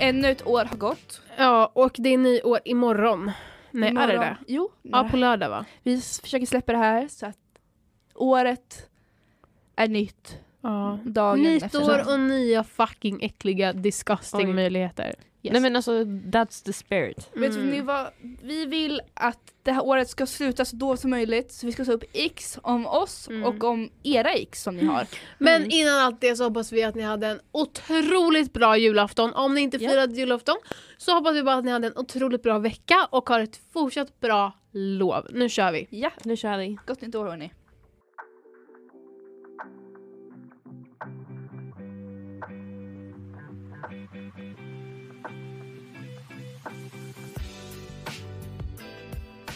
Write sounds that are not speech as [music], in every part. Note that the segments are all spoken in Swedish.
Ännu ett år har gått. Ja, och det är nyår imorgon. Nej, är det Imorgon- det? Jo. Ja, på lördag va? Vi s- försöker släppa det här så att året är nytt. Ja. Dagen Nytt efter. år och nya fucking äckliga disgusting Oj. möjligheter. Yes. Nej men alltså, that's the spirit. Vet Mm. du ni vad? Vi vill att det här året ska sluta så då som möjligt så vi ska ta upp x om oss Mm. och om era x som ni har. Men innan allt det så hoppas vi att ni hade en otroligt bra julafton. Om ni inte Ja. firade julafton så hoppas vi bara att ni hade en otroligt bra vecka och har ett fortsatt bra lov. Nu kör vi! Ja, Nu kör vi. gott nytt år hörni.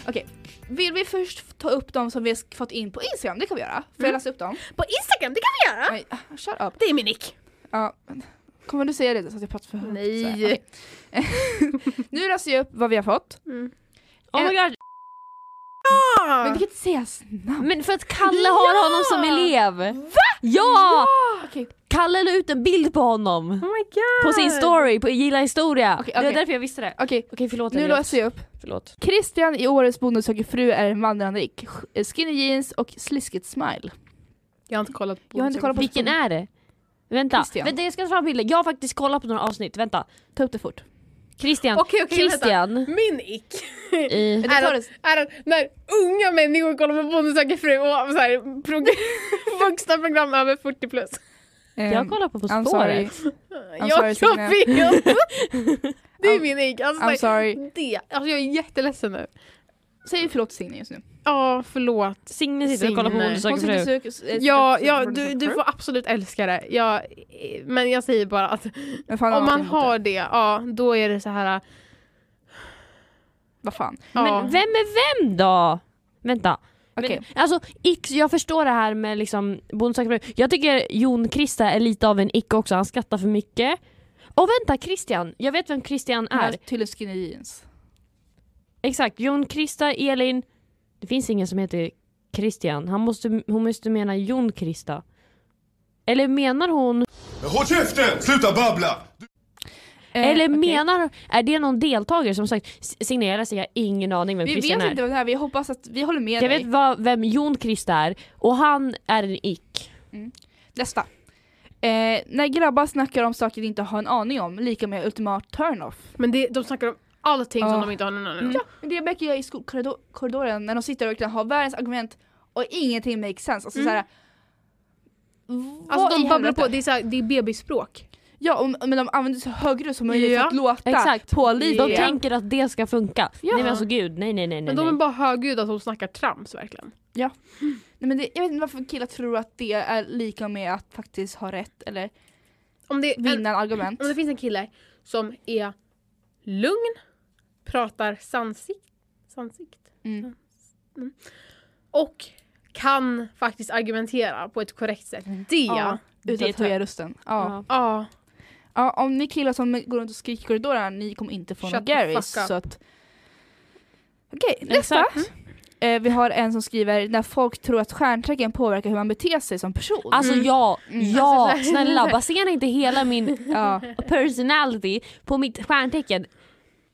Okej, vill vi först ta upp de som vi har fått in på Instagram? Det kan vi göra. Får jag läsa upp dem? På Instagram, det kan vi göra! Nej, shut up. Det är min nick! Ah. Ja. Kommer du säga det så att jag pratar för högt? Nej. Så här, okej. [laughs] nu läser jag upp vad vi har fått. Oh Eh. my god! Ah! Men vi kan inte säga snabbt. Men för att Kalle har Ja! honom som elev! Va? Ja! Okej, Kalle la ut en bild på honom! Oh my god! På sin story, på Gilla historia! Okej, Det okej. var därför jag visste det. okej. Okej förlåt Nu Elliot. läser jag upp. Förlåt. Christian i årets Bonde söker fru är en vandrande ick. Skinny jeans och sliskigt smile. Jag har inte kollat på Jag har inte kollat på- Vilken är det? Vänta, Christian. vänta jag ska ta fram bilden. Jag har faktiskt kollat på några avsnitt, vänta. Ta upp det fort. Christian, Okej, okej, vänta. Christian Min ick i... Men du tar det- är att när unga människor kollar på Bonde söker fru och så här, [laughs] prog- vuxna program över 40 plus. Ehm, Jag kollar på På I'm sorry. spåret. Jag, sorry, jag Signe. [laughs] vet! Det är I'm- min ick. Alltså, I'm sorry. Det. Alltså, jag är jätteledsen nu. Säg förlåt till Signe just nu. Ja, förlåt. Signe sitter och kollar på Signe. Bonde Hon söker sitter fru. och söker- söker- Ja, söker ja typ Bonde du, söker du fru. får absolut älska det. Jag, eh, men jag säger bara att Men fan, om jag man emot det. har det, ja, då är det så här... Vad fan. Ja. Men vem är vem då? Vänta. Okej. Men, alltså, ick, jag förstår det här med liksom Bonde söker fru. Jag tycker Jon Krista är lite av en ick också, han skrattar för mycket. Och vänta, Christian! Jag vet vem Christian Hon har är. Tydligen skinny jeans. Exakt, Jon Krista, Elin. Det finns ingen som heter Christian. Han måste, hon måste mena Jon Krista. Eller menar hon... Men håll käften! Sluta babbla! Eh, eller okej. menar... Är det någon deltagare som sagt "S- signera sig? Jag har ingen aning vem Vi Christian vet är. inte vem det är, vi hoppas att vi håller med Jag dig. vet vad, vem Jon Krista är och han är en ick. Nästa. Eh, när grabbar snackar om saker de inte har en aning om, lika med ultimat turn-off. Men det, de snackar om allting Ja. som de inte har någon aning om. Ja, men det märker jag i skolkorridoren när de sitter och verkligen har världens argument och ingenting makes sense. Alltså, Mm. såhär, Alltså, vad i de babblar helvete? på, det är, så här, det är bebisspråk. Ja, och, men de använder så hög röst som möjligt Ja, för att låta exakt. pålitliga. De tänker att det ska funka. Nej men alltså gud, nej nej nej nej. Men de är nej. bara högljudda som snackar trams verkligen. Nej, men det, jag vet inte varför killar tror att det är lika med att faktiskt ha rätt eller Om det, en, vinna en argument. om det finns en kille som är lugn, pratar sansikt, sansikt Mm. och kan faktiskt argumentera på ett korrekt sätt. Det! Ja, Ja. utan det att tror höja rösten. Ja. Ja. Ja. om ni killar som går runt och skriker i korridoren, ni kommer inte få Shut någon the Garys. fuck up. så att- Okej, nästa. Exakt. Mm. Eh, vi har en som skriver när folk tror att stjärntecken påverkar hur man beter sig som person. Alltså ja, Mm. ja, Alltså, så här- [laughs] snälla basera inte hela min ja. personality på mitt stjärntecken.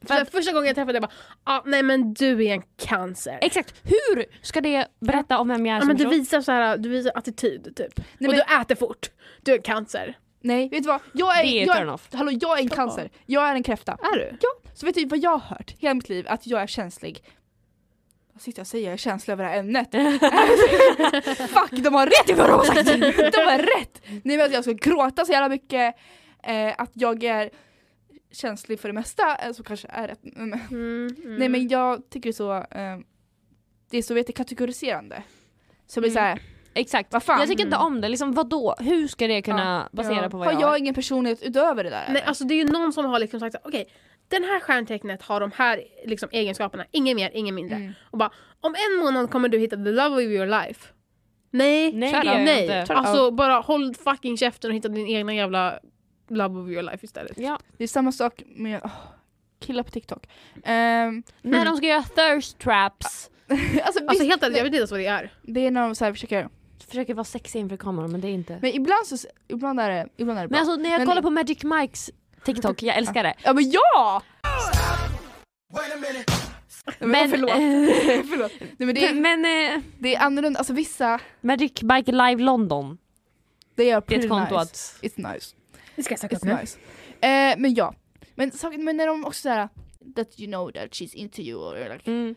För att första gången jag träffade dig bara, ah, nej men du är en cancer. Exakt, hur ska det berätta om vem jag är Ja, som men du person? visar så här, du visar attityd typ. Nej, och men, du äter fort. Du är cancer. nej, vet du vad? Jag är, Det är jag, [laughs] turn off. är- hallå, jag är en Ja. cancer. Jag är en kräfta. Är du? Så vet du vad jag har hört hela mitt liv? Att jag är känslig. Vad sitter jag och säger? Jag är känslig över det här [laughs] ämnet. Fuck, de har rätt i vad de har sagt! De har rätt! Ni vet att jag ska gråta så jävla mycket, eh, att jag är känslig för det mesta, eh, som kanske är rätt. Mm. Nej Mm. men jag tycker så, eh, det är så vet du, kategoriserande. Så det blir Mm. såhär, Exakt, Vad fan? jag tycker inte om det. Liksom, vadå? Hur ska det kunna basera Ja. på vad har jag, jag är? ingen personlighet utöver det där Nej, eller? alltså det är ju någon som har liksom sagt så här, okej, den här stjärntecknet har de här liksom, egenskaperna, inget mer, inget mindre. Mm. Och bara, om en månad kommer du hitta the love of your life. Nej, Nej, shut det up, gör jag nej. inte. Alltså bara håll fucking käften och hitta din egna jävla love of your life istället. Ja. Det är samma sak med, åh, killar på TikTok. Ehm, [laughs] Mm. När de ska göra thirst traps. alltså, visst, Alltså helt ärligt, jag vet inte ens vad det är. det är när de så här försöker, Försöker vara sexiga inför kameran men det är inte. men ibland så, ibland är det, ibland är det bra. Men alltså när jag Men- kollar på Magic Mikes TikTok, jag älskar det. ja men ja! Wait a minute. Men, Men- eh, förlåt. [laughs] [laughs] förlåt. Nej, men det, är, Men eh, det är annorlunda, alltså vissa, Magic Mike Live London, det är det är pretty ett konto nice. att... It's nice. Det ska jag söka upp nu. It's nice. Eh, men ja. Men, saken- men när de också såhär That you know that she's into you or like Mm.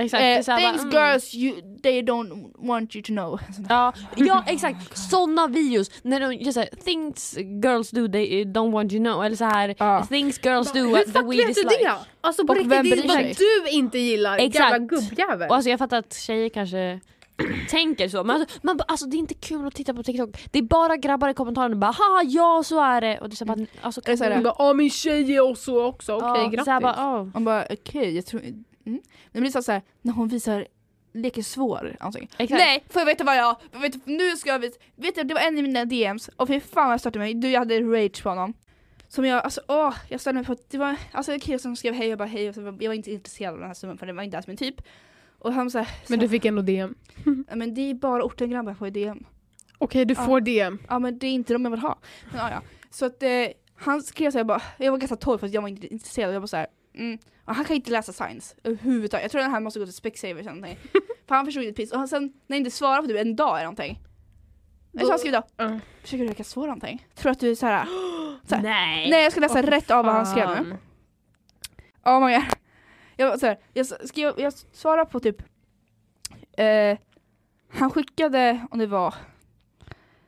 Exakt, det är eh, så här bara, Things mm. girls you, they don't want you to know. [laughs] Sådana- Ja, ja exakt, såna videos när de gör såhär things girls do they don't want you know eller så här Ja. things girls do Hur what the fuck weed vet is du like. det? Alltså på Och vem riktigt, det bryr är sig? vad du inte gillar Exakt. jävla gubbjävel. Och alltså jag fattar att tjejer kanske [clears throat] tänker så men alltså, man, bara, alltså det är inte kul att titta på TikTok. Det är bara grabbar i kommentarerna bara haha ja så är det och det är så här bara alltså Eller så här, Hon bara, ja min tjej är också också, okej ja, grattis. så här bara, ja. Man bara okej, jag tror... Mm. Men det blir såhär när hon visar leker svår. Alltså. Exakt. Nej, får jag veta vad jag... Vet, du- nu ska jag visa... Vet du, det var en i mina DMs och fy fan vad jag störde mig. Du, jag hade rage på honom. Som jag, alltså åh, jag störde mig på att det var alltså en kille som skrev hej och bara hej och så var, jag var inte intresserad av den här snubben för det var inte ens min typ. Och han såhär, Men du fick ändå DM. Ja, men det är bara ortengrabbar på DM. Okej du Ja. får DM. Ja men det är inte de jag vill ha. Men, ja, ja. Så att eh, han skrev såhär, jag, bara, jag var ganska torr för att jag var inte intresserad. Jag bara såhär, mm. och han kan inte läsa signs överhuvudtaget. Jag tror den här måste gå till Specsavers eller någonting. för han förstod inte piss. Och han sen, när jag inte svarade på typ en dag eller någonting. Eller så han skrev då, Mm. försöker du verka svår eller någonting? Tror att du är såhär, här, Nej. nej jag ska läsa Åh, rätt av vad han skrev nu. Oh my god. Jag, var så här, jag, skrev, jag svarade på typ... Eh, han skickade, om det var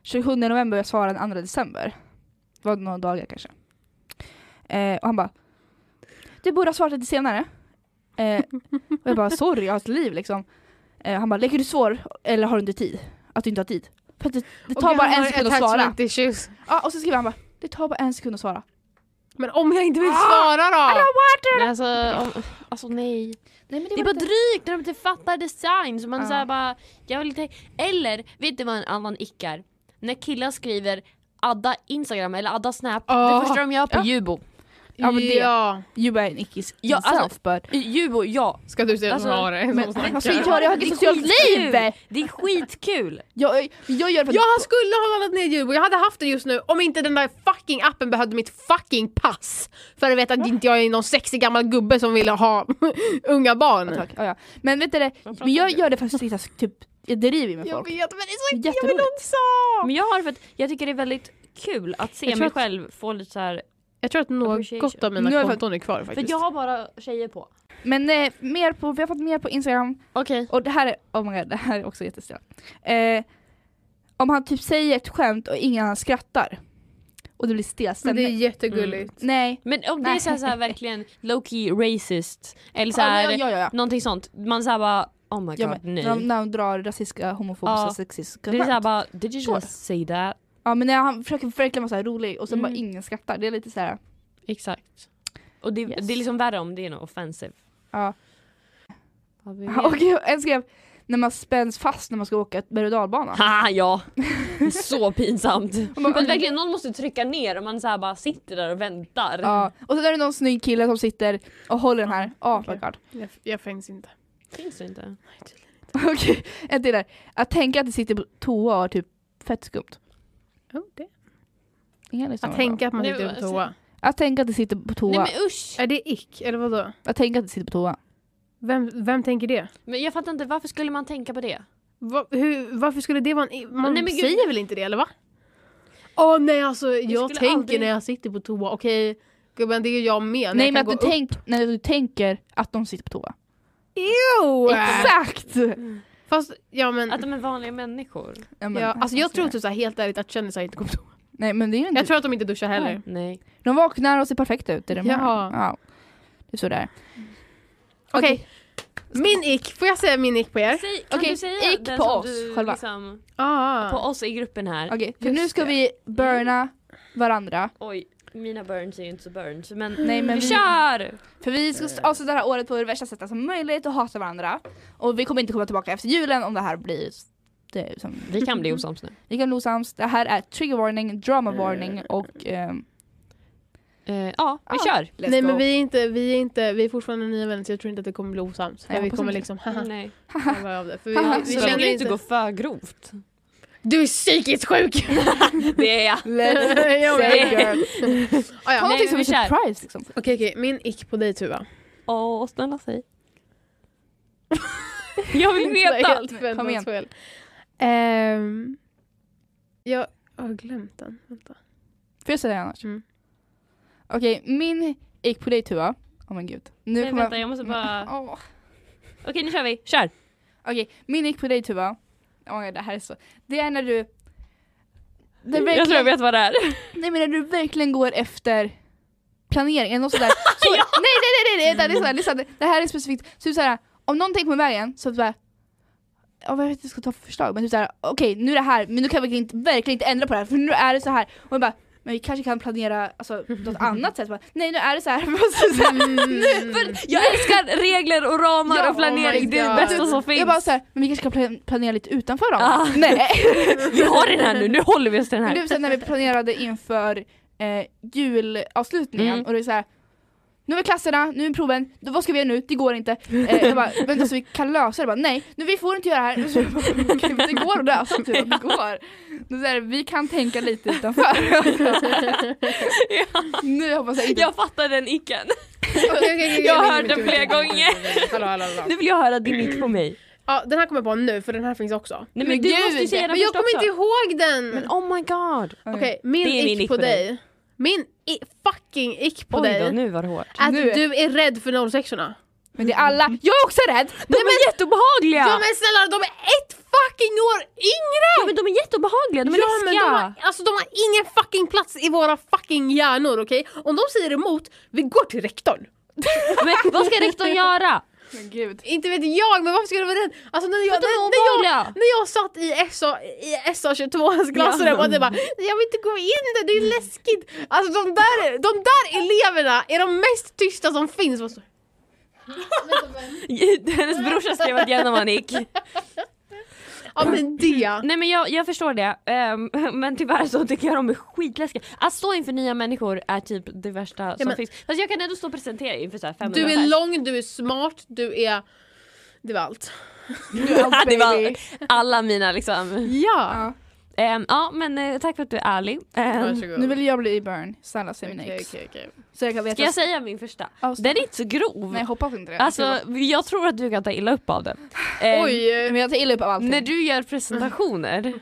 27 november jag svarade den 2 december. Det var några dagar kanske. Eh, och han bara Du borde ha svarat lite senare. Eh, och jag bara sorry, jag har ett liv liksom. Eh, han bara leker du svår eller har du inte tid? Att du inte har tid? För att det, det tar Okej, bara han en har sekund att svara. attachment issues. Ja, och så skriver han bara det tar bara en sekund att svara. Men om jag inte vill Ah! svara då? Men alltså, om, alltså nej. Nej, men Det är bara drygt när de inte fattar design. Så man Ja. så här bara, jag vill inte... Eller, vet du vad en annan ick är? När killar skriver adda Instagram eller adda Snap. Ja. Det första de gör på Ja. Jubo. Ja, men det- Ja. You are an ickis Ja, ja, alltså- yourself but Jubo, ja. Ska du säga Alltså, som har det? som Men snackar? vad ska jag göra? Jag har Det inget är socialt skitkul. liv! Det är skitkul. Jag, jag gör det för Jag att... skulle ha laddat ner Jubo, jag hade haft det just nu om inte den där fucking appen behövde mitt fucking pass. För att veta att inte jag är någon sexig gammal gubbe som vill ha [laughs] unga barn. Tack, ja, ja. Men vet du det, pratar men jag du? gör det för att sitta typ, jag driver med Jag folk. vet men det är så Det är jag vill jätteroligt. också! Men jag har för att jag tycker det är väldigt kul att se Jag tror mig att- själv få lite så här. Jag tror att något Appreciation. av Nu har mina jag fått- konton är kvar För faktiskt. jag har bara tjejer på. Men eh, mer på, vi har fått mer på Instagram, Okej. och det här är, oh my god, det här är också jättestelt. Eh, om han typ säger ett skämt och ingen annan skrattar, och det blir stel Men det är stämning. jättegulligt. Nej. Men om det är Nej. så här, så här verkligen low key racist. Eller så Ja, här, ja, ja, ja. någonting sånt. Man såhär bara oh my god ja men, nej. när, de, när de drar rasistiska, homofobiska, Ja. sexistiska Det är såhär skämt. bara did you just say that? Ja men när han försöker verkligen vara så här rolig och sen Mm. bara ingen skrattar, det är lite så här. Exakt. Och det, Yes. det är liksom värre om det är något offensive. Ja. Vad vi [laughs] [laughs] Och jag- en skrev, när man spänns fast när man ska åka berg och dalbana. Ha, ja! Det är [laughs] så pinsamt. För att verkligen, någon måste trycka ner och man så här bara sitter där och väntar. Ja, och sen är det någon snygg kille som sitter och håller den här. Ah, Ja, Okej. my god. Jag, jag finns inte. Finns det inte? [laughs] Okej, en till där. Att tänka att det sitter på toa är typ fett skumt. Ingen lyssnar Att på det. tänka att man Nu- sitter på toa. att tänka att det sitter på toa. Nej men usch! Är det ick eller vadå? Att tänka att det sitter på toa. Vem, vem tänker det? Men jag fattar inte, varför skulle man tänka på det? Va, hur, varför skulle det vara en... i- Man Nej, men gud. säger väl inte det eller va? Åh nej alltså jag, skulle tänker aldrig- när jag sitter på toa, okej gubben det är jag med. när Nej jag men kan att du, gå upp. tänk, när du tänker att de sitter på toa. Oh. Ew! Exakt! Mm. Fast ja men... Att de är vanliga människor? Ja, men, ja, alltså jag tror det. typ såhär helt ärligt att kändisar inte går på toa. Nej men det är ju inte. Jag tror att de inte duschar heller. Nej. De vaknar och ser perfekta ut. Är det med? Ja. ja. Det är sådär. Okej. Min ick, får jag säga min ick på er? Säg, kan Okej, du säga ick den på som oss du, själva. Liksom, på Ah. oss i gruppen här. Okej, för Just nu ska det. vi burna varandra. Oj, mina burns är ju inte så burns men Nej, men vi vi- kör! För vi ska Eh. avsluta det här året på det värsta sättet som möjligt och hata varandra. Och vi kommer inte komma tillbaka efter julen om det här blir... Det är som, Vi kan bli osams nu. Eh. vi kan bli osams. Det här är trigger warning, drama warning och... ehm, Eh, ja, vi Ja. kör. Let's Nej go. men [laughs] vi är, inte, vi är inte, vi är fortfarande nya vänner så jag tror inte att det kommer bli osams. Nej, jag Men vi hoppas kommer inte. liksom haha, Nej. vara av det. [laughs] För Haha, vi, vi, Så vi det känner kan inte gå inte... för grovt. Du är psykiskt sjuk! [laughs] Det är jag. Let's Jag go vet. girl. Ah, ja. Ta Nej, någonting men som vi är kör. surprise liksom. Okej okej, min ick på dig [laughs] Tuva. Åh, snälla säg. [laughs] jag vill veta. Kom igen. förväntansfull. Ehm, jag har glömt den. Vänta. Får jag säga det annars? [laughs] Mm. Okej, min gick på dig Tuva. Åh men gud. Nu Nej, kommer vänta, jag Mm. måste bara... [laughs] Åh. Okej, nu kör vi. Kör! Okej, min gick på dig Tuva. Åh my God, det här är så. Det är när du... Det är Jag tror jag verkligen, vet vad det [laughs] är. nej men när du verkligen går efter planering eller något [laughs] sådär. Så, Nej nej nej nej, vänta, lyssna, lyssna. Det här är specifikt. Så du såhär, om någonting kommer i vägen så att bara Ja, vad vet jag inte ska ta för förslag men typ såhär, okej nu är det här men nu kan jag verkligen inte, verkligen inte ändra på det här för nu är det så här och jag bara men vi kanske kan planera alltså, något annat sätt. Bara, Nej nu är det så här. [laughs] Så [laughs] så här Mm. för jag Jag älskar regler och ramar Ja, och planering, oh my det är det God. bästa som finns. Jag bara såhär, men vi kanske kan plan- planera lite utanför dem? [laughs] Ah. [laughs] Nej! vi har den här nu, nu håller vi oss till den Men här. du, sen när vi planerade inför eh, julavslutningen Mm. och det är såhär nu är klasserna, nu är proven, då, vad ska vi göra nu? Det går inte. Eh, jag bara, vänta så vi kan lösa det? Jag Bara, Nej, nu, vi får inte göra det här. Så jag bara, "Okej, men det går att lösa, typ, det går. Då så här, vi kan tänka lite [laughs] utanför. Ja, nu hoppas jag inte... jag fattar den icken. Okej, okej, okej, okej, Jag har vänta, hört den vänta, flera vänta, vänta, gånger. vänta, vänta. Hallå, hallå, hallå. [laughs] Nu vill jag höra din ick på mig. Ja, den här kommer jag på nu för den här finns också. Nej men, Men du gud. måste ju säga den Men jag först kommer inte också. ihåg den! Men oh my god. Okej. Okej, min Det är min ick på dig. Min i, fucking ick på Oj då, dig. nu var det hårt. Att Nu- du är rädd för 06orna. Men det är alla, jag är också rädd! De är jätteobehagliga! Ja. men snälla, de är ett fucking år yngre! Ja, men de är jätteobehagliga, de är ja, men de, läskiga. har, alltså, de har ingen fucking plats i våra fucking hjärnor, okej? Om de säger emot, vi går till rektorn. Men vad ska rektorn göra? Men gud. Inte vet jag, men varför ska det vara den? Alltså när jag, För de är när, när jag, obehagliga. när jag satt i SA, i SA 22 klassrum Ja. och det bara Jag vill inte gå in där, det är läskigt! Alltså de där, de där eleverna är de mest tysta som finns! Och så- Hennes brorsa skrev att Jenna var en ick. Ja men det! Nej men jag, jag förstår det, Ehm, men tyvärr så tycker jag de är skitläskiga. Att stå inför nya människor är typ det värsta som men- finns. Fast jag kan ändå stå och presentera inför så här 500 Du är pers. lång, du är smart, du är... Det var allt. Ja, det var alla mina liksom. Ja! Ja. Ehm, ja men eh, tack för att du är ärlig. Ehm, Varsågod. Nu vill jag bli burn, snälla säg mina Okej, ex. okej, okej. Så jag kan veta... ska jag säga min första? Ja, snälla. Den är inte så grov. Nej jag hoppas inte det. Alltså jag tror att du kan ta illa upp av den. Ehm, Oj! men jag tar illa upp av allting. När du gör presentationer,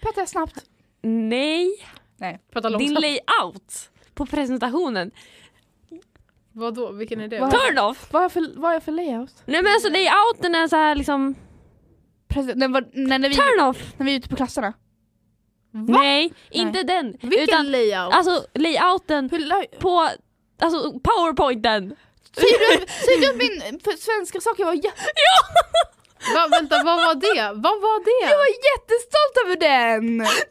Pratar jag snabbt? nej, Prata din långsamt. layout på presentationen, Vadå, vilken är det? Vad- turn off! Vad har jag för, vad har jag för layout? Nej men alltså layouten är så här liksom, Precis, när, var, när, när, vi, turn off! när vi är ute på klasserna. Nej, inte den! Vilken utan layout? alltså layouten Hur [laughs] la- på, alltså powerpointen! Säger du, säger du att min för svenska saker var, jä- Va, vänta, vad var det? Vad var det? jag var jättestolt över den?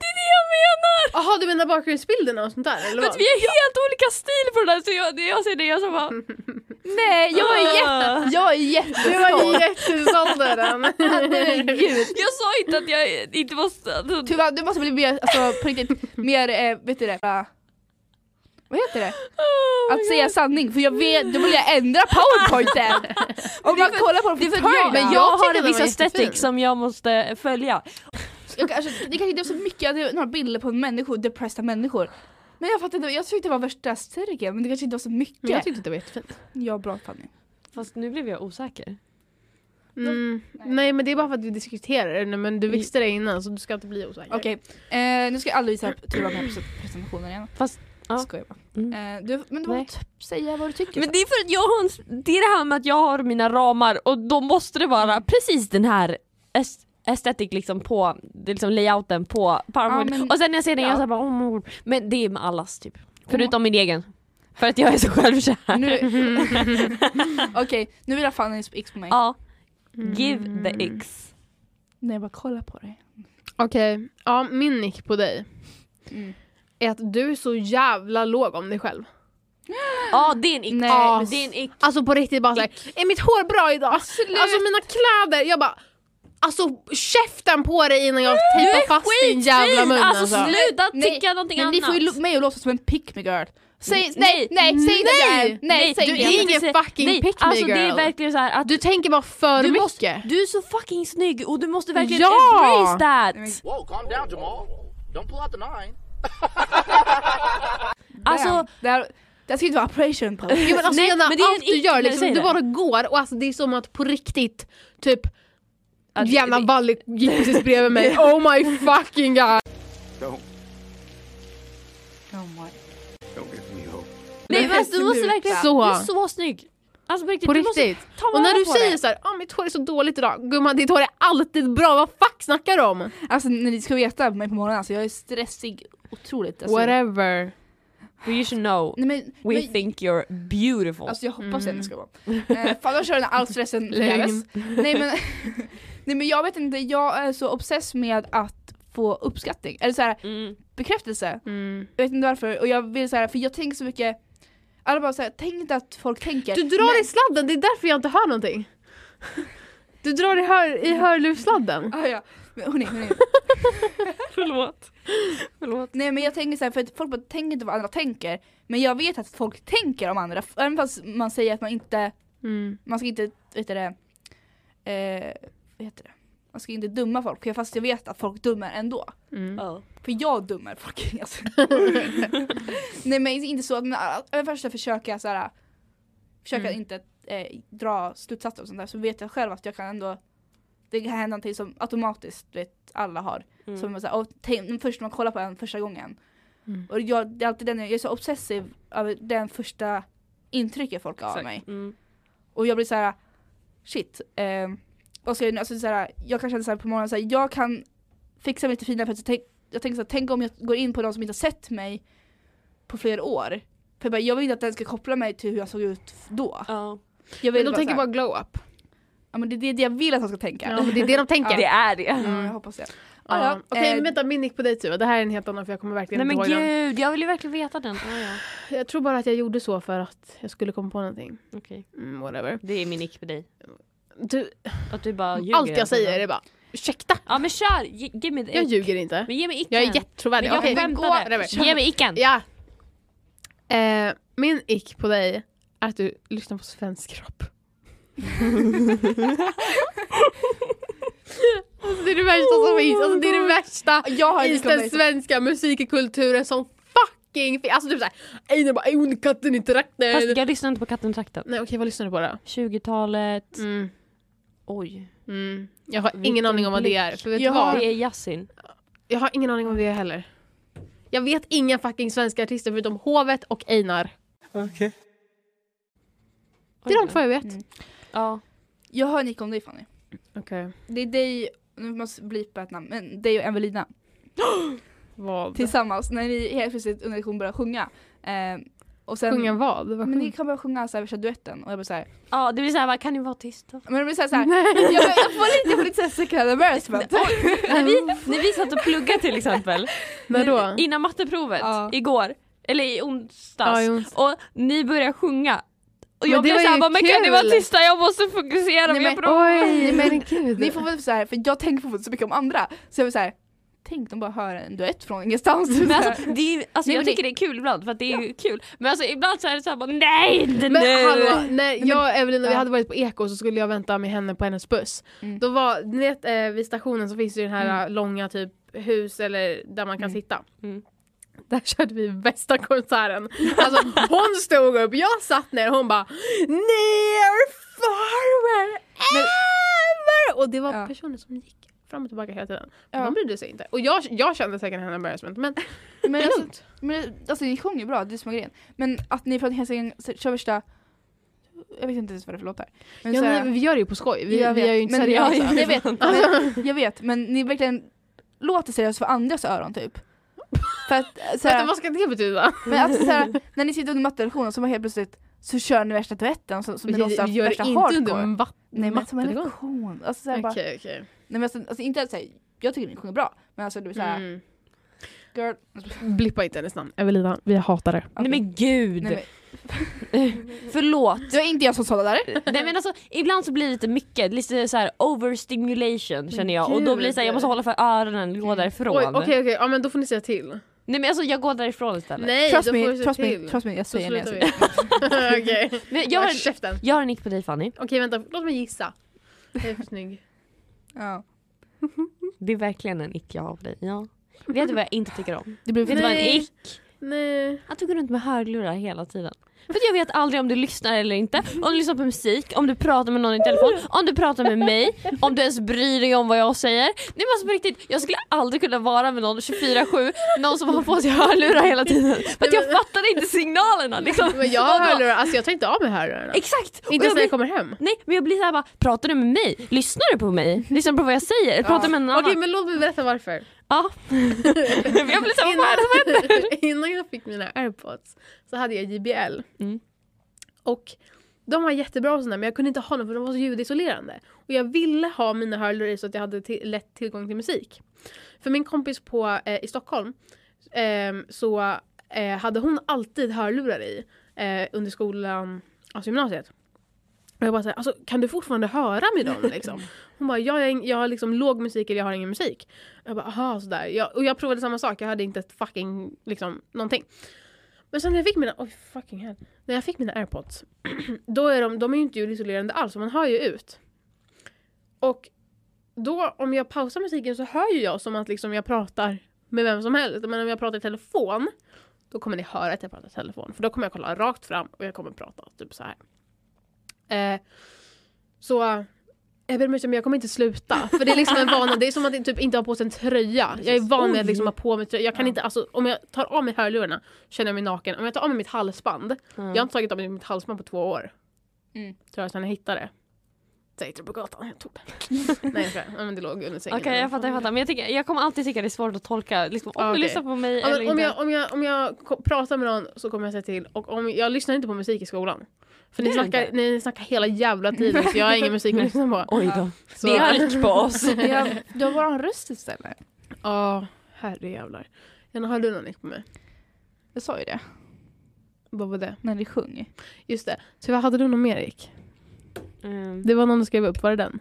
Det är det jag menar! Jaha, du menar bakgrundsbilderna och sånt där? Eller För att vad? vi har helt olika stil på den här så jag, när jag ser det jag så [laughs] bara, Nej jag är, jätte, "Åh." jag är Du var jättestolt. jättestolt över den. Herregud. Jag sa inte att jag inte var... Alltså, Tuva du måste bli mer, alltså på riktigt, mer, eh, vet du det? bara- Vad heter det? Oh my Att säga God. sanning för jag vet, då vill jag ändra powerpointen! Om man kollar på den Det är för för att Alltså, jag, turn jag men jag har tycker en den viss var estetik jättefin. som jag måste följa. Jag kanske, det kanske inte var så mycket, jag hade några bilder på människor, depressed människor. Men jag fattade inte, jag tyckte det var värsta cirkeln men det kanske inte var så mycket. Jag, tyckte det var jättefint. ja, bra Fanny. Fast nu blev jag osäker. Mm. Nej men det är bara för att vi diskuterar det nu, men du visste det innan så du ska inte bli osäker. Okej, eh, nu ska jag aldrig visa upp Tuva på den här presen- presentationen igen. Fast- ja. Skojar bara. Eh, du, men du får Nej. typ säga vad du tycker. Men det är för att jag har en, s- det är det här med att jag har mina ramar och då måste det vara precis den här est- estetik liksom på det är liksom layouten på powerpoint. Ja, men- och sen när jag ser den ja. jag säger bara oh my God. Men det är med allas typ. Förutom min egen. För att jag är så självkär. Nu- [laughs] Okej, nu vill jag Fanny X på mig. Ja. Mm. Give the x. Nej jag bara kolla på dig. Okej, ja min nick på dig Mm. är att du är så jävla låg om dig själv. Ja det är en ick. Nej, Ja, men- det är en ick. Alltså på riktigt bara såhär, är mitt hår bra idag? Alltså mina kläder, jag bara Alltså käften på dig innan jag tejpar fast din jävla mun Alltså, alltså. sluta Nej, tycka någonting Men annat. ni får ju lo- mig att låtsas som en pick me girl. Säg, nej, nej, säg inte Nej! det! Nej, säg du inte är det! ingen Säg- fucking nej, pick me Alltså det girl. är verkligen så här att Du tänker bara för du, mycket. måste, du är så fucking snygg och du måste verkligen Ja! embrace men- that! Whoa, calm down, Jamal. Don't pull out the nine. Alltså, Damn. det här, det här ska inte vara appreciation [laughs] på. Ja, men alltså, Nej, Lena, men det är allt en du gör, ick- liksom, säg du det. bara går och alltså, det är som att på riktigt, typ Att- Jävla Valle gick precis bredvid [laughs] mig, oh my fucking god! Don't, Oh my. don't give me hope. nej, men alltså, du måste sluta. verkligen, Så. du är så snygg! Alltså på riktigt, På du måste riktigt. ta Och när vara du på säger det. såhär, ah mitt hår är så dåligt idag, gumman ditt hår är alltid bra, vad fuck snackar du om? Alltså ni ska veta mig på morgonen, alltså, jag är stressig otroligt. Alltså, Whatever. We should know, Nej, men, we men, think you're beautiful Alltså jag hoppas mm. det det ska vara. Eh, fan jag kör den här all [laughs] stressen förgäves. Nej men, [laughs] nej men jag vet inte, jag är så obsess med att få uppskattning, eller så här, mm. bekräftelse. Mm. Jag vet inte varför, och jag vill så här, för jag tänker så mycket, alla bara såhär, tänk inte att folk tänker. Du drar i sladden, det är därför jag inte hör [laughs] någonting. Du drar i, hör, i hörlurssladden. [laughs] Ah, ja. men, hörni, [laughs] hörni. Förlåt. Förlåt. Nej men jag tänker såhär, för att folk bara tänker inte vad andra tänker, men jag vet att folk tänker om andra, även fast man säger att man inte, Mm. man ska inte, vet du det, eh, vad heter det? Man ska inte dumma folk, fast jag vet att folk dummar ändå. Mm. För jag dummar fucking [laughs] alltså. Nej men inte så, men även fast jag försöker såhär Försöker Mm. äh, inte eh, dra slutsatser och sånt där så vet jag själv att jag kan ändå Det kan hända någonting som automatiskt du vet alla har. Mm. Som man såhär, och tänk, först när man kollar på en första gången. Mm. Och jag, det är alltid den, jag är så obsessiv över den första intrycket folk har av Exakt. mig. Mm. Och jag blir så här: shit. Eh, vad ska jag nu, alltså så här, jag kan känna såhär på morgonen, så här, jag kan fixa mig lite finare för att jag tänk, jag tänker så här, tänk om jag går in på någon som inte har sett mig på flera år. För jag, bara, jag vill inte att den ska koppla mig till hur jag såg ut då. Ja. Jag vill Men de bara, tänker så här, bara glow up. ja, men det, det är det jag vill att han ska tänka. Ja, Mm. men det är det de [laughs] tänker. Det är det. [laughs] Ja, jag hoppas det. Ja. Ah, ja. Okej, Eh, men vänta, min nick på dig Tuva. Det här är en helt annan för jag kommer Nej verkligen men inte ihåg den. gud, jag vill ju verkligen veta den. Ah, ja. Jag tror bara att jag gjorde så för att jag skulle komma på någonting. Okej. Mm, whatever. Det är min nick på dig. Du, Att du bara ljuger. allt jag säger är bara ursäkta, Ja men kör, ge, ge mig jag ljuger inte. Men ge mig icken. Jag är jättetrovärdig. Men jag Okej, gå- skämtade. whatever. Ge mig icken. Ja. Eh, min ick på dig är att du lyssnar på svensk [laughs] rap. alltså, det är det värsta som finns. Alltså, det är det värsta jag har i inte den kommit svenska musikkulturen som fucking finns. Alltså typ såhär, Einar bara "Ey, hon katten i trakten. Fast jag lyssnar inte på katten trakten. Nej okej, vad lyssnar du på då? 20-talet, Mm. oj. Mm. Jag har ingen Vilken aning om vad det blick. är. För vet Jag du vad? har- Det är Yasin. Jag har ingen aning om vad det är heller. Jag vet inga fucking svenska artister förutom Hovet och Einar. Det är de två jag vet. Mm. Ja. Jag har en ick om dig Fanny. Okej. Det är dig, nu måste jag blipa ett namn, men dig och Evelina. Vad? Tillsammans, när ni helt plötsligt under lektion börjar sjunga. Eh, och sen, Sjunga vad? Vad Men ni sjung- kan börja sjunga så här, värsta duetten och jag blir såhär, Ja det blir såhär, bara, kan ni vara [laughs] tysta? men det blir såhär, såhär jag, jag får lite, jag får lite såhär second embarrassment. när, vi, när vi satt och pluggade till [laughs] exempel. När då? Innan matteprovet, Ja. igår. Eller i onsdags. Ja, i onsdags. Och ni började sjunga. Och Men jag det blev var såhär, ju bara, men kan ni kul." vara tysta? Jag måste fokusera. Nej, Nej, men- men, Oj, men men gud. Ni får väl såhär, för jag tänker fortfarande så mycket om andra, så jag blir såhär, tänk de bara hör en duett från ingenstans. Men alltså, det är, alltså Nej, men jag tycker det är kul ibland för att det är ju kul. Men alltså ibland så är det såhär bara nej inte Men nu! hallå, när jag och Evelina vi ja. hade varit på Eko så skulle jag vänta med henne på hennes buss. Mm. Då var, ni vet eh, vid stationen så finns det ju den här eh, långa typ hus eller där man kan sitta. Mm. Där körde vi bästa konserten. Alltså hon stod upp, jag satt ner och hon bara Near forward ever! Och det var Ja. personer som gick fram och tillbaka hela tiden. Ja. De brydde sig inte. Och jag, jag kände säkert henne embarrassment men men, det är alltså, lugnt. men alltså ni sjunger bra, det är som är grejen. Men att ni från Hälsingland kör värsta, jag vet inte ens vad det är för låtar. Men Ja, så här- men vi gör det ju på skoj, vi, jag vi vet, är ju inte men seriösa. Jag, jag, vet, men, [laughs] jag vet, men ni verkligen låter seriösa för andras öron typ. För att, så här, Vänta, vad ska det betyda? Men alltså såhär, när ni sitter under mattelektionen så bara helt plötsligt så kör ni värsta duetten som, som ni låtsas gör det värsta inte under hardcore. vatten. Nej men som en lektion. Alltså, såhär, bara, nej, Okej, okej. men alltså, alltså, inte att säga, jag tycker ni sjunger bra men alltså du är såhär, Mm. girl. alltså. Blippa inte hennes namn. Evelina, vi hatar det. Nej men gud! Nej, Förlåt! men, det var inte jag som sa det där. Nej men alltså ibland så blir det lite mycket, lite såhär overstimulation känner jag och då blir det såhär jag måste hålla för öronen och gå därifrån. Oj, okej, okej. Ja, men då får ni säga till. Nej men alltså jag går därifrån istället. Nej, Trust då får me, du se trust me, till. trust me, jag Så säger nej. slutar vi. [laughs] alltså. Okej, [laughs] Men jag, jag har, har käften. jag har en nick på dig Fanny. Okej vänta, låt mig gissa. Det är för snygg. Ja. Det är verkligen en ick jag har på dig. Ja. Vet du vad jag inte tycker om? Det blir Vet du vad en Nej. ick? Nej. Att du går runt med hörlurar hela tiden. För att jag vet aldrig om du lyssnar eller inte, om du lyssnar på musik, om du pratar med någon i telefon, om du pratar med mig, om du ens bryr dig om vad jag säger. Nej men alltså på riktigt, jag skulle aldrig kunna vara med någon 24-7, någon som har på sig hörlurar hela tiden. För att jag fattar inte signalerna liksom. Men jag har hörlurar, alltså jag tar inte av mig hörlurarna. Exakt! Inte Och ens jag när blir, jag kommer hem. nej men jag blir såhär bara, pratar du med mig? Lyssnar du på mig? Lyssnar du på vad jag säger? Pratar med någon annan? Okej men låt mig berätta varför. Ja. [laughs] jag blir såhär, vad är det som händer? [laughs] innan jag fick mina airpods så hade jag JBL. Mm. Och de var jättebra och sådär men jag kunde inte ha dem för de var så ljudisolerande. Och jag ville ha mina hörlurar i så att jag hade till- lätt tillgång till musik. För min kompis på, eh, i Stockholm ehm, så eh, hade hon alltid hörlurar i eh, under skolan, alltså gymnasiet. Och jag bara såhär, alltså, kan du fortfarande höra med dem [laughs] liksom? Hon bara, jag, jag, jag har liksom låg musik eller jag har ingen musik. Jag bara aha sådär. Jag, och jag provade samma sak, jag hade inte ett fucking liksom någonting. Men sen när jag fick mina, oj fucking hell. När jag fick mina airpods, [clears throat] då är de, de är ju inte ljudisolerande alls, så man hör ju ut. Och då om jag pausar musiken så hör ju jag som att liksom jag pratar med vem som helst. Men om jag pratar i telefon, då kommer ni höra att jag pratar i telefon. För då kommer jag kolla rakt fram och jag kommer prata typ så här. Eh, så jag ber om ursäkt men jag kommer inte sluta. För det är liksom en vana, det är som att typ inte ha på sig en tröja. Jag är van med att liksom ha på mig tröja. Jag kan inte, alltså, om jag tar av mig hörlurarna känner jag mig naken. Om jag tar av mig mitt halsband, Mm. jag har inte tagit av mig mitt halsband på två år. Mm. Tror jag sen jag hittade det. Säg till på gatan, jag tog det. [laughs] Nej jag skojar. Ja, men det låg under sängen. Okej jag fattar, jag fattar. Men jag, tycker, jag kommer alltid tycka det är svårt att tolka liksom, om Ja, du okej. lyssnar på mig Ja, Alltså, eller men om, inte. jag, om, jag, om jag ko- pratar med någon så kommer jag säga till. Och om, jag lyssnar inte på musik i skolan. För ni Det gör du snackar, inte. ni snackar hela jävla tiden så jag har ingen musik att lyssna [laughs] på. Oj då. Så, Det är ick på [laughs] [laughs] oss. Vi har- Du har våran röst istället. [laughs] Ja, herrejävlar. Jenna, har du någon nick på mig? Jag sa ju det, Vad var det? när ni sjöng. Just det. Tyvärr, hade du någon mer Erik? Mm. Det var någon du skrev upp, var det den?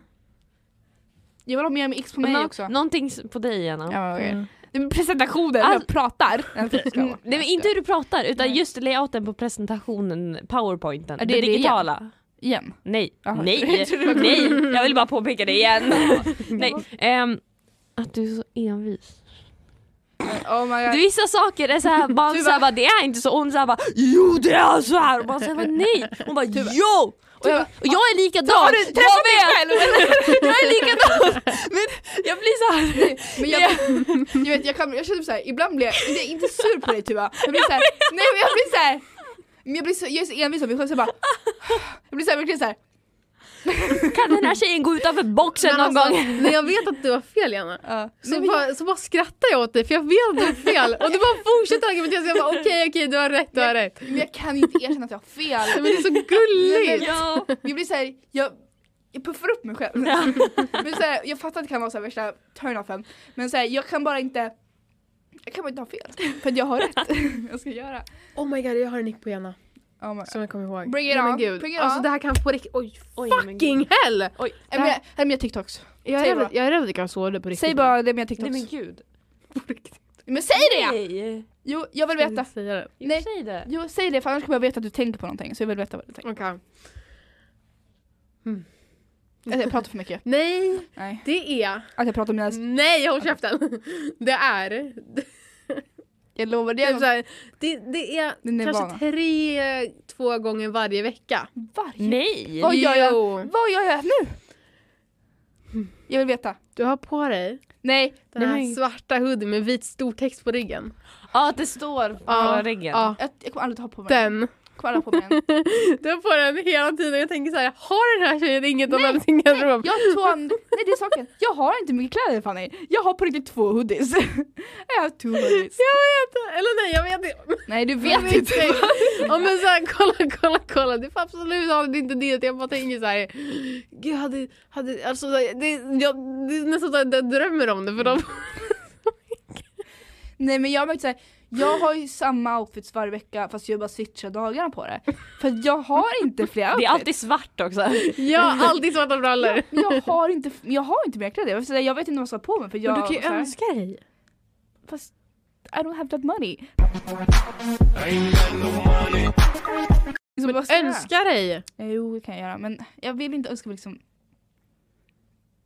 Jag vill ha med mig X på mig Nå- också. Någonting s- på dig Jenna. Ja, okej. Mm. Det är presentationen, All- jag pratar. Mm, Nej, men inte hur du pratar utan Nej. just layouten på presentationen, powerpointen, Ja, det, det är det igen. digitala. Igen. Nej, Jaha. [laughs] nej, nej, jag vill bara påpeka det igen. nej. ehm, att du är så envis. Oh my Du, god. vissa saker är såhär, man Du såhär bara, det är inte så, hon såhär bara jo det är så här och man säger bara nej, hon bara jo! Och jag, och jag är likadan, du jag träffat dig vet! jag är likadan! Men jag blir såhär, Men jag, [laughs] jag vet, jag, kan, jag känner såhär, ibland blir jag, inte, inte sur på dig Tuva, jag blir såhär, nej men jag blir såhär, men jag blir så, jag är så envis av mig själv så jag bara, jag blir såhär verkligen såhär, [laughs] kan den här tjejen gå utanför boxen Men någon alltså, gång? När jag vet att du har fel Jenna, ja. så, bara, så bara skrattar jag åt dig för jag vet att du har fel. Och du bara fortsätter argumentera så jag bara okej okej du har rätt, du har rätt. men jag kan inte erkänna att jag har fel. Men det är så gulligt! Ja. Jag blir såhär, jag, jag puffar upp mig själv. Men så här, jag fattar att det kan vara så här värsta turn-offen, men så här, jag kan bara inte jag kan bara inte ha fel, för att jag har rätt. [laughs] jag ska göra. Oh my god jag har en nick på Jenna Oh my. som jag kommer ihåg. Bring it Nej, men on, Gud. bring it alltså on. det här kan få riktigt, oj Oj, men fucking hell! Nej, men jag, nej, men jag TikToks. Jag är, Säg rädd, bara. att- jag är rädd att jag kan såga det på riktigt. Säg bara det med Nej TikToks. men gud. Men säg det! Jo, Nej. jag vill jag vill veta. inte säga det. Nej. Säg det. Jo, säg det för annars kommer jag veta att du tänker på någonting så jag vill veta vad du tänker. Okej. Mm. Alltså, Eh, jag pratar för mycket. [laughs] Mm, Nej, Nej. det är Att jag pratar om mina... Nej, håll käften! [laughs] Det är, Alltså- det Jag lovar, det är, är så här, det, det är Den är vana. kanske tre, två gånger varje vecka. varje... Nej. Oj, gör jag? Jo, Vad gör jag nu? Jag vill veta. Du har på dig Nej. den här Nej. svarta hoodien med vit stor text på ryggen. Ja att det står på Ja, ryggen. Ja, Jag, jag kommer aldrig ta på mig den. den. Jag kommer aldrig ha på mig den. Du har på den hela tiden jag tänker så här, har den här tjejen inget annat i sin garderob? Jag har två... Nej det är saken. Jag har inte mycket kläder Fanny. Jag har på riktigt två hoodies. [laughs] Jag har två hoodies. Jag vet Eller nej, jag vet inte. Nej du Men vet inte. exakt. Ja men såhär, kolla, kolla, kolla. Det är absolut hade inte det. Jag bara tänker såhär, gud hade, hade, alltså, så här, det, jag, det är nästan så att jag drömmer om det för de Nej men jag har märkt såhär, jag har ju samma outfits varje vecka fast jag bara switchar dagarna på det. För att jag har inte fler outfits. Det är alltid svart också. [laughs] Jag har alltid [laughs] svarta brallor. Men jag har inte, jag har inte mer kläder. Jag, vill säga, jag vet inte vad jag ska ha på mig för jag... så här- dig. Fast I don't have that money. Liksom, vad ska jag göra? Eh, Önska dig! Jo, det kan jag göra. Men jag vill inte önska mig liksom...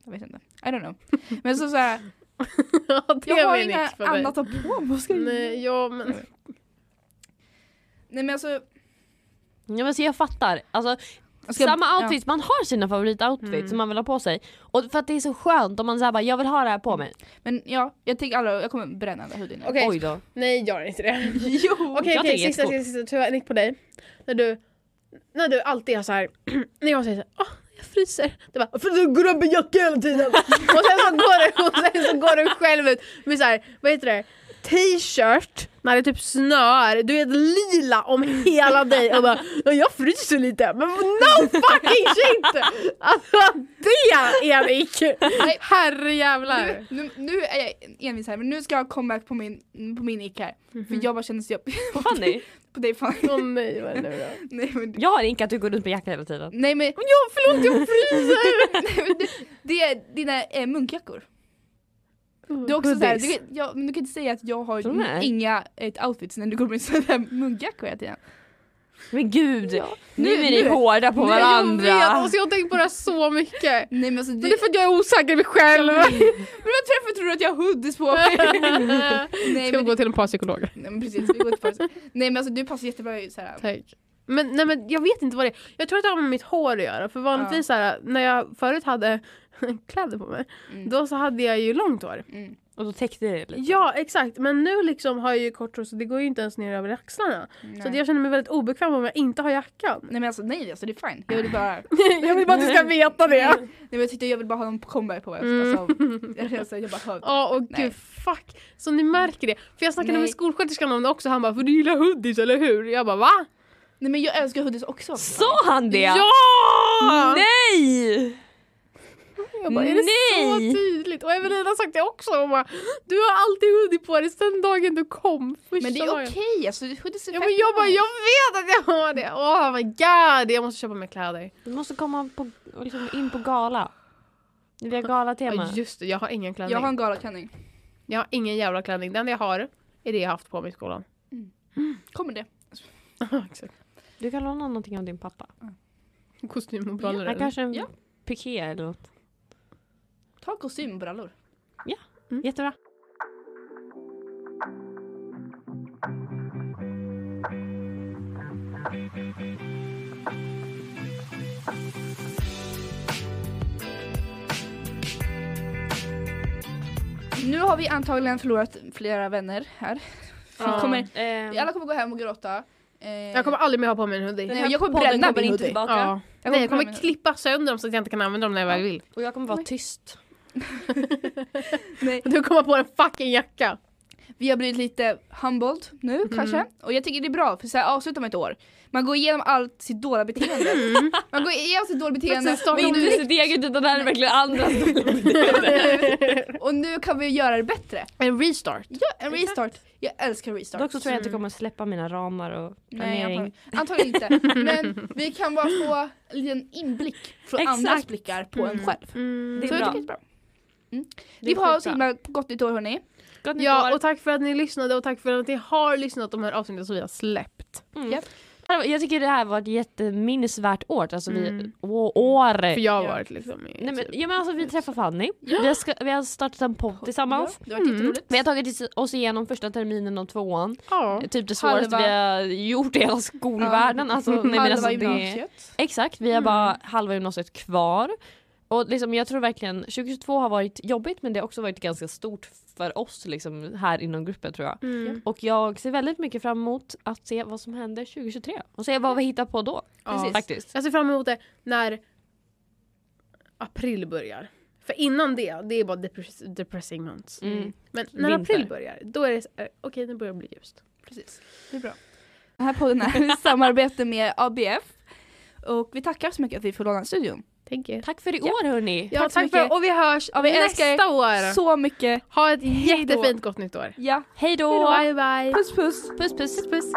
Jag vet inte. I don't know. Men så, så [laughs] här, ja, det jag har var inga inget för mig. annat att ha på mig. Vad ska jag göra? Nej, ja, men... Nej men alltså... Ja, men så jag fattar. Alltså, jag ska- samma ja. outfits, man har sina favoritoutfits som man vill ha på sig. Och för att det är så skönt om man säger bara jag vill ha det här på mig. Men ja, jag tänker alla, jag kommer bränna den där hoodien. Okej. Oj då. Nej, gör inte [laughs] det. Jo! Okej, Jag okej, tycker sista, det är sista, sista, tyvärr, nick på dig. När du, när du alltid har så här, [clears throat] när jag säger så här, "Åh, jag fryser. Du bara, för du går upp i jacka hela tiden. [laughs] och sen så går du, och sen så går du själv ut med så här, vad heter det, t-shirt, när det typ snör, du är ett lila om hela dig och bara, "Ja, jag fryser lite. Men no fucking shit! Alltså det är Nick! Herrejävlar. Nu, nu är jag envis här, men nu ska jag komma på min, på min ick här. Mhm. För jag bara känner så jag... Fanny, på dig fan. Åh [laughs] nej, vad är det nu då? Nej men... jag har inte att du går runt med jacka hela tiden. Nej men... Men jag, förlåt jag [laughs] Nej, men det, det är dina eh, munkjackor. fryser! Du, är också så här, Hoodies. du, kan- ja, men du kan inte säga att jag har Tror du det? inga eh, outfits när du går med sådana där munkjackor hela tiden. Men gud, nu, Nu- är ni nu- hårda på varandra. Jag vet, alltså jag har tänkt på det här så mycket. Nej men alltså du... Men det är för att jag är osäker i mig själv. Men vad träffar tror du att jag har hoodies på [laughs] mig? nej, Ska vi men, gå till en par psykologer? nej men precis, vi går inte på Nej men alltså du passar jättebra i såhär. Tack. Men, nej, men jag vet inte vad det är. Jag tror att det har med mitt hår att göra. För vanligtvis så här, när jag förut hade [laughs] kläder på mig, Mm. då så hade jag ju långt hår. Mm. Och då täckte det lite. Ja, exakt. Men nu liksom har jag ju kort hår så det går ju inte ens ner över axlarna. Nej. Så att jag känner mig väldigt obekväm om jag inte har jackan. nej men alltså nej alltså det är fine. Jag vill bara, [laughs] jag vill bara att du ska veta det. nej, men jag, tyckte, jag vill bara ha någon kombi på mig. Mm. Alltså, jag, alltså, jag bara hör. Ja, och Nej. gud fuck. Så ni märker det. För jag snackade Nej. med skolsköterskan om det också. Han bara, för du gillar hoodies eller hur? Jag bara, va? Nej men jag älskar hoodies också. Sa han det? Ja! Nej! Jag bara, är det Nej! så tydligt? Och Evelina har sagt det också. Hon bara, du har alltid hoodie på dig sedan dagen du kom. Första Men det är dagen. okej alltså hoodies är Ja, men fett jag bara, bra. jag vet att jag har det. Oh my god, jag måste köpa mer kläder. Du måste komma på, och liksom in på gala. Vi har galatema. Ja, just det, jag har ingen klänning. jag har en galaklänning. jag har ingen jävla klänning. Det enda jag har är det jag haft på mig i skolan. [laughs] Kommer det? Exakt. Du kan låna någonting av din pappa. Kostym och brallor. Han eller? kanske en Ja. piké eller något. Ta kostym och brallor. Jättebra. Nu har vi antagligen förlorat flera vänner här. Vi Ja. kommer, Ehm, alla kommer gå hem och gråta. Eh, Jag kommer aldrig mer ha på mig en hoodie. Nej, den här jag kommer podden bränna kommer min inte hoodie. tillbaka. Ja. kommer Nej, jag bränna kommer min- klippa sönder dem så att jag inte kan använda dem när jag väl vill. Och jag kommer vara tyst. nej, Du kommer på en fucking jacka. vi har blivit lite humbled nu kanske. Och jag tycker det är bra för så här avslutar man ett år. Man går igenom allt sitt dåliga beteende. Man går igenom sitt dåliga beteende. Precis, starta men om nu, sitt eget utan det här är verkligen [laughs] andras. och nu kan vi göra det bättre. En restart. Ja, en restart. Jag älskar restart. Dock så tror jag inte jag kommer släppa mina ramar och Nej, planering. antagligen, antagligen [laughs] inte. Men vi kan bara få en liten inblick från Exakt. Mm. andras blickar på en själv. det Så jag är bra. tycker det är bra. Mm. är Vi har skitbra. så himla gott nytt år hörni. Gott nytt Ja, år. och tack för att ni lyssnade och tack för att ni har lyssnat om de här avsnitten som vi har släppt. Mm. Japp. Jag tycker det här var ett jätteminnesvärt år. Alltså vi, Mm. å- år. För jag har Ja. varit liksom i, Nej, men, typ- ja, men alltså, vi träffar Fanny, vi, har ska, vi har startat en podd tillsammans. Mm. Ja, Det har varit jätteroligt. Vi har tagit oss igenom första terminen av tvåan, ja. typ det svåraste Halva- vi har gjort i hela skolvärlden. Alltså, nej, men alltså, Halva det- gymnasiet. Exakt, vi har bara halva gymnasiet kvar. Och liksom, jag tror verkligen 2022 har varit jobbigt men det har också varit ganska stort för oss liksom, här inom gruppen tror jag. Mm. Och jag ser väldigt mycket fram emot att se vad som händer 2023 och se vad vi hittar på då. Ja. Faktiskt. Jag ser fram emot det när april börjar. För innan det, det är bara depress- depressing months. Mm. Men när Vinter. april börjar, då är det så här, eh, okej nu börjar det bli ljust. Precis. Det är bra. Den här podden är i [laughs] samarbete med ABF. Och vi tackar så mycket att vi får låna studion. Thank you. Tack för i år hörni! Ja, Tack tack, så mycket. för och vi hörs Ja, vi älskar nästa år. Så mycket. Ha ett då. jättefint gott nytt år. Ja. Hej då! Bye bye. Puss puss. Puss puss! puss.